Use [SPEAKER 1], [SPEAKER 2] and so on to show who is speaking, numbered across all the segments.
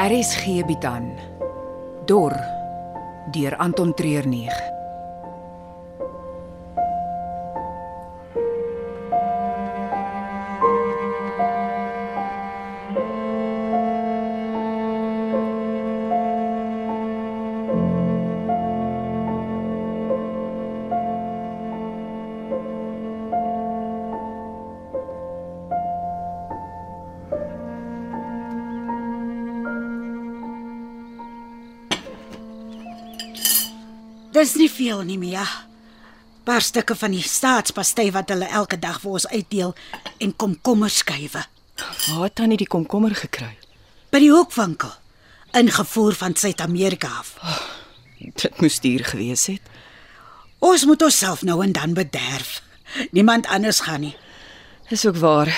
[SPEAKER 1] RSG bied aan Dor deur Anton Treurnig.
[SPEAKER 2] Dis nie veel nie, Mia. Paar stukke van die staatspastei wat hulle elke dag vir ons uitdeel en komkommerskywe
[SPEAKER 3] Waar het tannie die komkommer gekry?
[SPEAKER 2] by die hoekwinkel, ingevoer van Suid-Amerika af.
[SPEAKER 3] Dit moes duur gewees het.
[SPEAKER 2] Ons moet onsself nou en dan bederf. Niemand anders gaan nie.
[SPEAKER 3] Dis ook waar.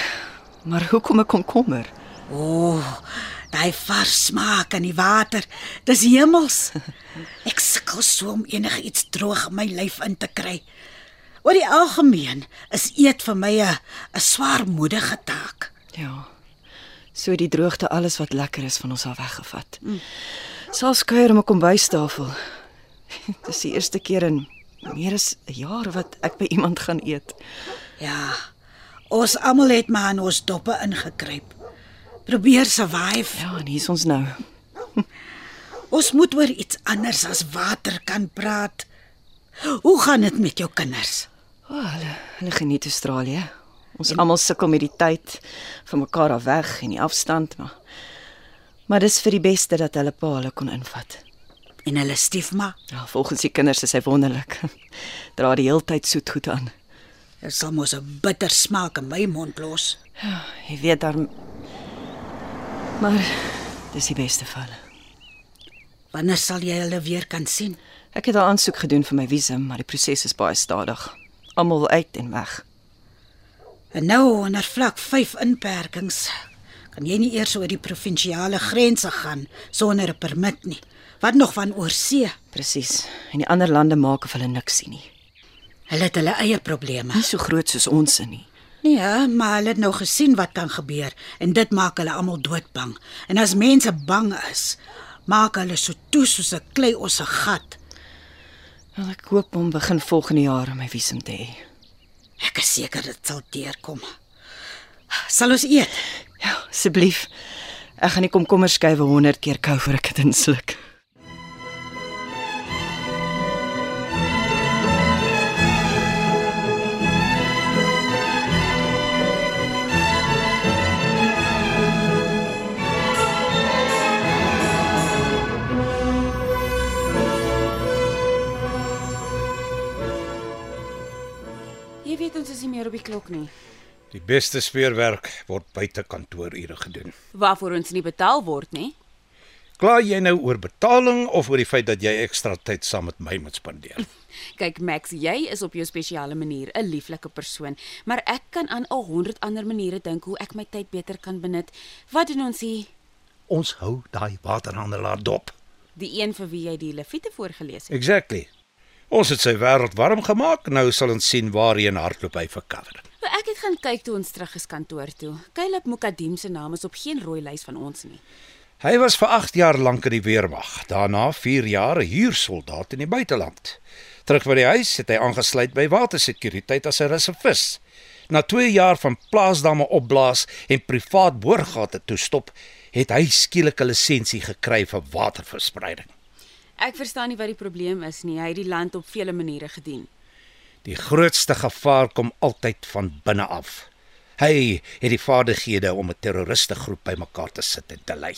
[SPEAKER 3] Maar hoekom 'n komkommer?
[SPEAKER 2] O, oh, daai vars smaak in die water. Dis hemels. Ek sukkel so om enigiets droog in my lyf in te kry. Oor die algemeen is eet vir my 'n 'n swaarmoedige taak.
[SPEAKER 3] Ja. So het die droogte alles wat lekker is van ons al weggevat. Mm. Selfs kuier om 'n kombuistafel. Dis die eerste keer in meer as 'n jaar wat ek by iemand gaan eet.
[SPEAKER 2] Ja. Ons almal het maar aan ons doppe ingekruip. Probeer survive.
[SPEAKER 3] Ja, en hier's ons nou.
[SPEAKER 2] Ons moet oor iets anders as water kan praat. Hoe gaan dit met jou kinders?
[SPEAKER 3] O, oh, hulle hulle geniet Australië. Ons almal sukkel met die tyd van mekaar af weg en die afstand, maar maar dis vir die beste dat hulle pa hulle kon invat.
[SPEAKER 2] En hulle stiefma,
[SPEAKER 3] Ja, volgens die kinders is hy wonderlik. Dra die heeltyd soet goed aan.
[SPEAKER 2] dit sal mos 'n bitter smaak in my mond los.
[SPEAKER 3] Ja, Jy weet daar maar dis die beste vir hulle.
[SPEAKER 2] Wanneer sal jy hulle weer kan sien?
[SPEAKER 3] Ek het al aansoek gedoen vir my visum, maar die proses is baie stadig. Almal wil uit en weg.
[SPEAKER 2] En nou onder vlak 5 inperkings kan jy nie eers oor die provinsiale grense gaan sonder 'n permit nie. Wat nog van oorsee?
[SPEAKER 3] Presies. En die ander lande maak of hulle niks sien nie.
[SPEAKER 2] Hulle het hulle eie probleme.
[SPEAKER 3] Nie so groot soos ons in nie.
[SPEAKER 2] Ja, maar hulle het nou gesien wat kan gebeur en dit maak hulle almal doodbang. En as mense bang is, maak hulle so toe soos 'n klei osse gat.
[SPEAKER 3] Wel ek hoop om begin volgende jaar my visum te hê.
[SPEAKER 2] Ek is seker dit sal deurkom. Sal ons eet?
[SPEAKER 3] Ja, asseblief. Ek gaan nie kom kommer skuif 100 keer kou voor ek dit insluk.
[SPEAKER 4] Jy weet ons is nie meer op die klok nie.
[SPEAKER 5] Die beste speurwerk word buite kantoorure gedoen.
[SPEAKER 4] Waarvoor ons nie betaal word nie.
[SPEAKER 5] Kla jy nou oor betaling of oor die feit dat jy ekstra tyd saam met my moet spandeer?
[SPEAKER 4] Kyk Max, jy is op jou spesiale manier 'n lieflike persoon, maar ek kan aan 'n 100 ander maniere dink hoe ek my tyd beter kan benut. Wat doen ons hier?
[SPEAKER 5] Ons hou daai waterhandelaar dop.
[SPEAKER 4] Die een vir wie jy die leviete voorgeles het.
[SPEAKER 5] Exactly. Ons het sy wêreld warm gemaak. Nou sal ons sien waarheen hardloop hy vir cover.
[SPEAKER 4] Wel, Ek het gaan kyk toe ons terug is kantoor toe. Caleb Mukadim se naam is op geen rooi lys van ons nie.
[SPEAKER 5] Hy was vir 8 jaar lank in die weermag, daarna 4 jaar 'n huursoldaat in die buiteland. Terug by die huis het hy aangesluit by watersekuriteit as 'n reservis. Na 2 jaar van plaasdamme opblaas en privaat boorgate toestop, het hy skielik 'n lisensie gekry vir waterverspreiding.
[SPEAKER 4] Ek verstaan nie wat die probleem is nie. Hy het die land op vele maniere gedien.
[SPEAKER 5] Die grootste gevaar kom altyd van binne af. Hy het die vaardighede om 'n terroriste groep bymekaar te sit en te lei.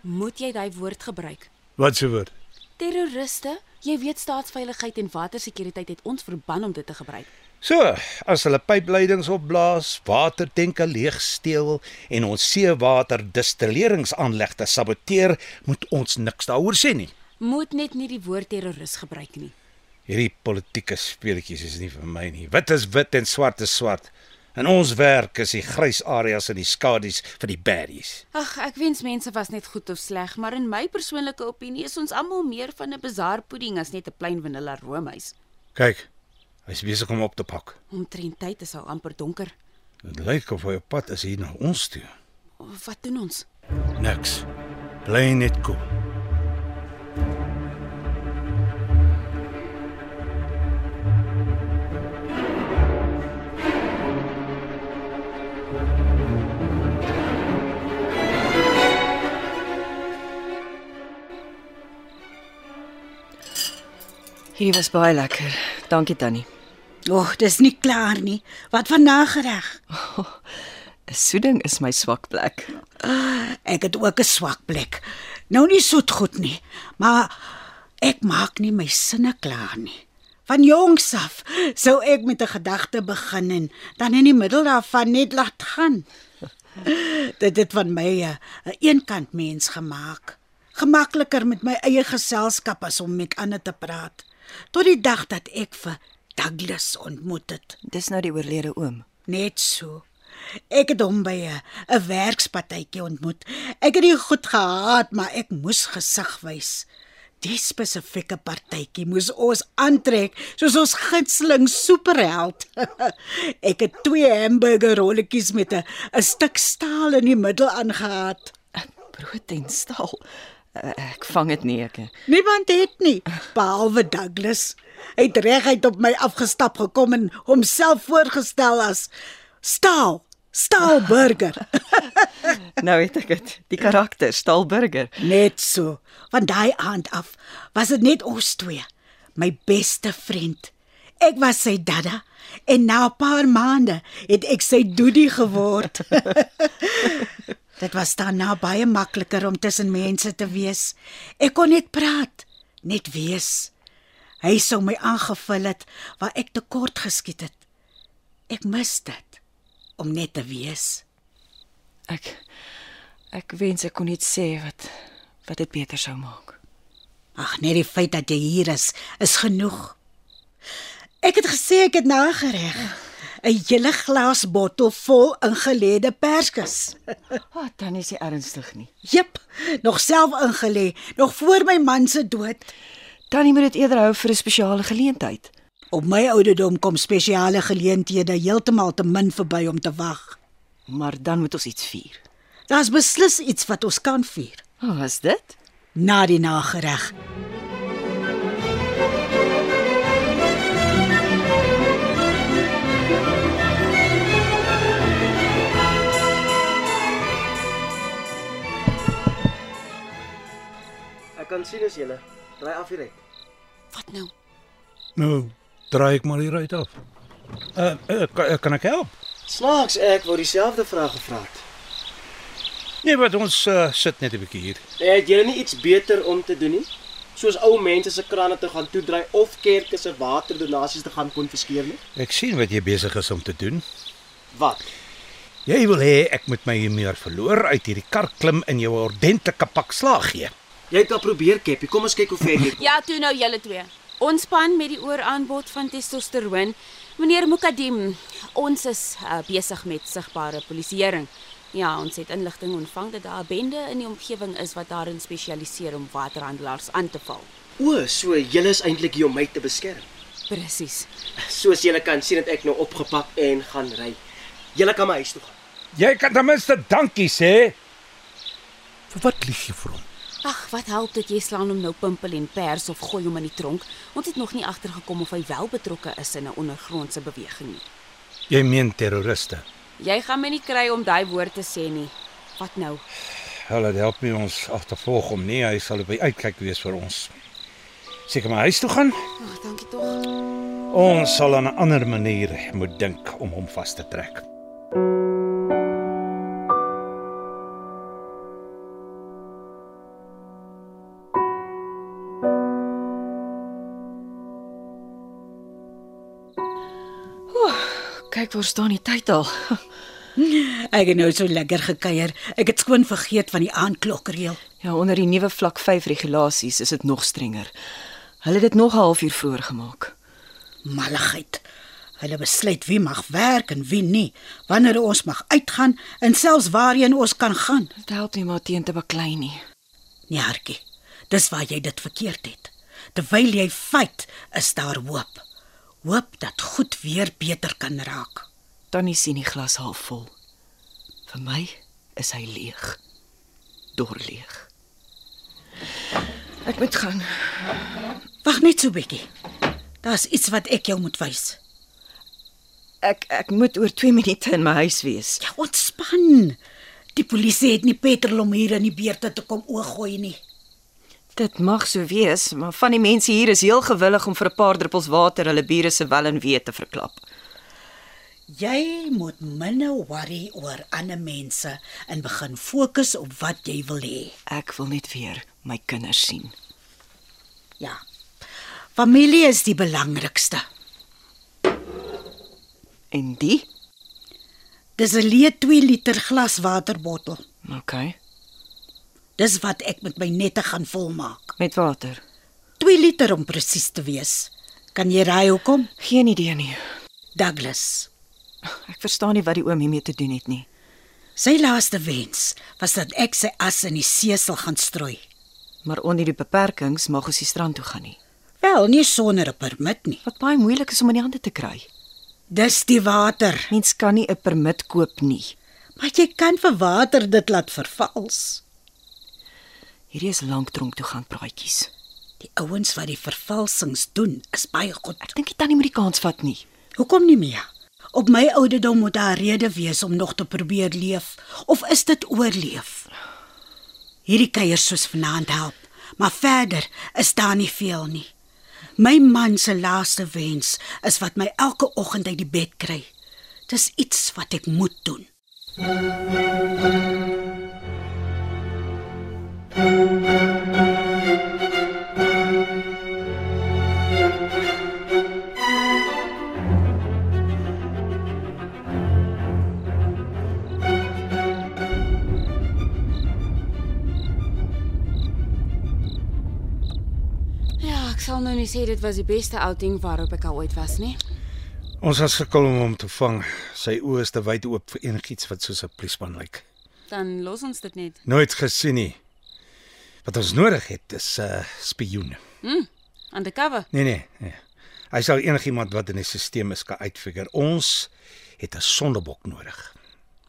[SPEAKER 4] Moet jy daai woord gebruik?
[SPEAKER 5] Wat se woord?
[SPEAKER 4] Terroriste? Jy weet staatsveiligheid en watersekuriteit het ons verban om dit te gebruik.
[SPEAKER 5] So, as hulle pypleidings opblaas, watertenke leegsteel en ons seewater distilleringsaanlegte saboteer, moet ons niks daaroor sê nie.
[SPEAKER 4] Moet net nie die woord terroris gebruik nie.
[SPEAKER 5] Hierdie politieke speletjies is nie vir my nie. Wit is wit en swart is swart. In ons werk is die grys areas en die skadu's vir die baddies.
[SPEAKER 4] Ag, ek wens mense was net goed of sleg, maar in my persoonlike opinie is ons almal meer van 'n bazaar pudding as net 'n plain vanilla roomys.
[SPEAKER 5] Kyk, hy's besig om op te pak.
[SPEAKER 4] Omtrent tyd is al amper donker.
[SPEAKER 5] Dit lyk of hy op pad is hier na ons toe.
[SPEAKER 4] Wat doen ons?
[SPEAKER 5] Niks. Bly net koel.
[SPEAKER 3] Hierdie was baie lekker. Dankie Tannie.
[SPEAKER 2] Och, dis nie klaar nie. Wat van nagereg?
[SPEAKER 3] 'n Soeding is my swak plek.
[SPEAKER 2] Ek het ook 'n swak plek. Nou nie soet goed nie, maar ek maak nie my sinne klaar nie. Van jongs af sou ek met 'n gedagte begin en dan in die middel daarvan net laat gaan. Dit het van my 'n 'n eenkant mens gemaak. Gemakliker met my eie geselskap as om met ander te praat. Tot die dag dat ek vir Douglas ontmoet het.
[SPEAKER 3] Dis nou die oorlede oom.
[SPEAKER 2] Net so. Ek het hom by 'n 'n werkspartytjie ontmoet. Ek het die goed gehaat, maar ek moes gesig wys. Die spesifieke partytjie moes ons aantrek soos ons gunsteling superheld. ek het twee hamburger rolletjies met 'n 'n stuk staal in die middel aangehaat.
[SPEAKER 3] Brood en staal. Eh, Ek vang dit nie ek.
[SPEAKER 2] Niemand het nie, behalwe Douglas. Hy het reguit op my afgestap gekom en homself voorgestel as Staal, Staalburger.
[SPEAKER 3] Nou weet ek dit. Die karakter Staalburger.
[SPEAKER 2] Net so. Van daai aand af was dit net ons twee. My beste vriend. Ek was sy dadda en na 'n paar maande het ek sy doodie geword. dit was daarna baie makliker om tussen mense te wees. Ek kon net praat, net wees. Hy sou my aangevul het waar ek tekort geskiet het. Ek mis dit om net te wees.
[SPEAKER 3] Ek ek wens ek kon net sê wat wat dit beter sou maak.
[SPEAKER 2] Ag, net die feit dat jy hier is, is genoeg. Ek het gesê ek het nagereg. 'n Hele glas bottel vol ingelêde perskus.
[SPEAKER 3] Ah, oh, Tannie is nie ernstig nie.
[SPEAKER 2] Jep, nog self ingelê, nog voor my man se dood.
[SPEAKER 3] Tannie moet dit eerder hou vir 'n spesiale geleentheid.
[SPEAKER 2] Op my ouderdom kom spesiale geleenthede heeltemal te min verby om te wag.
[SPEAKER 3] Maar dan moet ons iets vier.
[SPEAKER 2] Daar's beslis iets wat ons kan vier.
[SPEAKER 3] Wat oh, was dit?
[SPEAKER 2] Na die nagereg.
[SPEAKER 6] Ek kan sien as jy ry af hier uit.
[SPEAKER 4] Wat nou?
[SPEAKER 5] Nou, draai ek maar hier uit af. Uh, uh kan, kan ek help?
[SPEAKER 6] Snaaks, ek wou dieselfde vraag gevra het.
[SPEAKER 5] Nee, wat ons uh, sit net 'n bietjie hier.
[SPEAKER 6] Het jy nie iets beter om te doen nie? Soos ou mense se krane te gaan toedry of kerke se waterdonasies te gaan konfiskeer nie?
[SPEAKER 5] Ek sien wat jy besig is om te doen.
[SPEAKER 6] Wat?
[SPEAKER 5] Jy wil hê ek moet my hier meer verloor uit hierdie kar klim en jou 'n ordentlike pak slaag gee.
[SPEAKER 6] Jy het al probeer, Keppie. Kom ons kyk hoe ver jy kom.
[SPEAKER 4] Ja, toe nou julle twee. Ontspan met die ooraanbod van testosteroon. Meneer Mukadim, ons is uh, besig met sigbare polisieering. Ja, ons het inligting ontvang dat daar 'n bende in die omgewing is wat daarin spesialiseer om waterhandelaars aan te val.
[SPEAKER 6] O, so jy is eintlik hier om my te beskerm.
[SPEAKER 4] Presies.
[SPEAKER 6] Soos jy kan sien het ek nou opgepak en gaan ry. Jy kan my huis toe gaan.
[SPEAKER 5] Jy kan ten minste dankie sê. Vir wat lieg jy vir hom?
[SPEAKER 4] Ag, wat help dit jy slaan hom nou pimpel en pers of gooi hom in die tronk? Ons het nog nie agtergekom of hy wel betrokke is in 'n ondergrondse beweging nie.
[SPEAKER 5] Jy meen terroriste.
[SPEAKER 4] Jy gaan my nie kry om daai woord te sê nie. Wat nou?
[SPEAKER 5] Hulle het help my ons af te volg om nie hy sal op die uitkyk wees vir ons. Seker maar huis toe gaan.
[SPEAKER 4] Ag, dankie tog.
[SPEAKER 5] Ons sal aan 'n ander manier moet dink om hom vas te trek.
[SPEAKER 3] Kyk waar staan die tyd al.
[SPEAKER 2] Ek het nou so lekker gekuier. Ek het skoon vergeet van die aandklokreël.
[SPEAKER 3] Ja, onder die nuwe vlak 5 regulasies is dit nog strenger. Hulle het dit nog 'n halfuur vroeër gemaak.
[SPEAKER 2] malligheid. Hulle besluit wie mag werk en wie nie, wanneer ons mag uitgaan en selfs waarheen ons kan gaan.
[SPEAKER 3] Dit help nie maar teen te baklei nie.
[SPEAKER 2] Nee, hartjie. Dis waar jy dit verkeerd het. Terwyl jy fight, is daar hoop. Hoop dat goed weer beter kan raak.
[SPEAKER 3] Tannie sien die glas half vol. Vir my is hy leeg. Dor leeg. Ek moet gaan.
[SPEAKER 2] Wag net so 'n bietjie. Daar's iets wat ek jou moet wys.
[SPEAKER 3] Ek ek moet oor 2 minute in my huis wees.
[SPEAKER 2] Ja, ontspan. Die polisie het nie petrol om hier in die beurte te kom ooggooi nie.
[SPEAKER 3] Dit mag so wees, maar van die mense hier is heel gewillig om vir 'n paar druppels water hulle bure se wel en wee te verklap.
[SPEAKER 2] Jy moet minder worry oor ander mense en begin fokus op wat jy wil hê.
[SPEAKER 3] Ek wil net weer my kinders sien.
[SPEAKER 2] Ja. Familie is die belangrikste.
[SPEAKER 3] En die?
[SPEAKER 2] Dis 'n leë 2 liter glas waterbottel.
[SPEAKER 3] OK.
[SPEAKER 2] Dis wat ek met my nette gaan volmaak.
[SPEAKER 3] Met water.
[SPEAKER 2] 2 liter om presies te wees. Kan jy raai hoekom?
[SPEAKER 3] Geen idee nie.
[SPEAKER 2] Douglas.
[SPEAKER 3] Ek verstaan nie wat die oom hiermee te doen het nie.
[SPEAKER 2] Sy laaste wens was dat ek sy as in die see sal gaan strooi.
[SPEAKER 3] Maar onder die beperkings mag ons nie strand toe gaan nie.
[SPEAKER 2] Wel, nie sonder 'n permit nie.
[SPEAKER 3] Wat baie moeilik is om in die hande te kry.
[SPEAKER 2] Dis die water.
[SPEAKER 3] Mens kan nie 'n permit koop nie.
[SPEAKER 2] Maar jy kan vir water dit laat vervals.
[SPEAKER 3] Hierdie is lank dronk toe gaan praatjies.
[SPEAKER 2] Die ouens wat die vervalsings doen, is baie goed.
[SPEAKER 3] Ek dink die tannie moet die kans vat nie.
[SPEAKER 2] Hoekom nie meer? Op my ouderdom moet daar rede wees om nog te probeer leef of is dit oorleef? Hierdie kuiers soos vanaand help, maar verder is daar nie veel nie. My man se laaste wens is wat my elke oggend uit die bed kry. Dis iets wat ek moet doen.
[SPEAKER 4] Ja, ek sal nou nie sê dit was die beste outing waarop ek al ooit was nie.
[SPEAKER 5] Ons was sukkel om hom te vang. Sy oë is te wyd oop vir enigiets wat soos 'n polisieman lyk.
[SPEAKER 4] Dan los ons dit net.
[SPEAKER 5] Nooit gesien nie. Wat ons nodig het is 'n uh, spioen.
[SPEAKER 4] Undercover.
[SPEAKER 5] Nee nee, nee. Hy sal enigiemand wat in die stelsel is kan uitfigure. Ons het 'n sondebok nodig.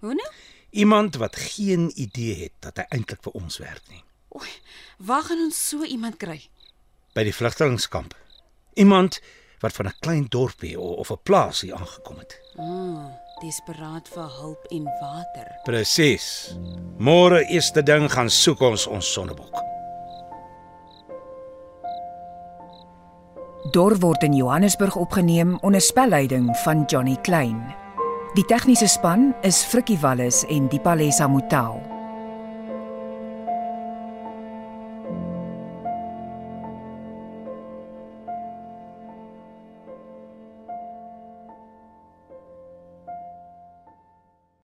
[SPEAKER 4] Hoe nou?
[SPEAKER 5] Iemand wat geen idee het dat hy eintlik vir ons werk nie.
[SPEAKER 4] Oei, waar gaan ons so iemand kry?
[SPEAKER 5] By die vlugtelingkamp. Iemand wat van 'n klein dorpie o- of 'n plaas hier aangekom het.
[SPEAKER 4] Mm, desperaat vir hulp en water.
[SPEAKER 5] Presies. Môre eerste ding gaan soek ons ons sondebok.
[SPEAKER 1] Dor word in Johannesburg opgeneem onder spelleiding van Johnny Klein. Die tegniese span is Frikkie Wallis en Dipalesa Motelo.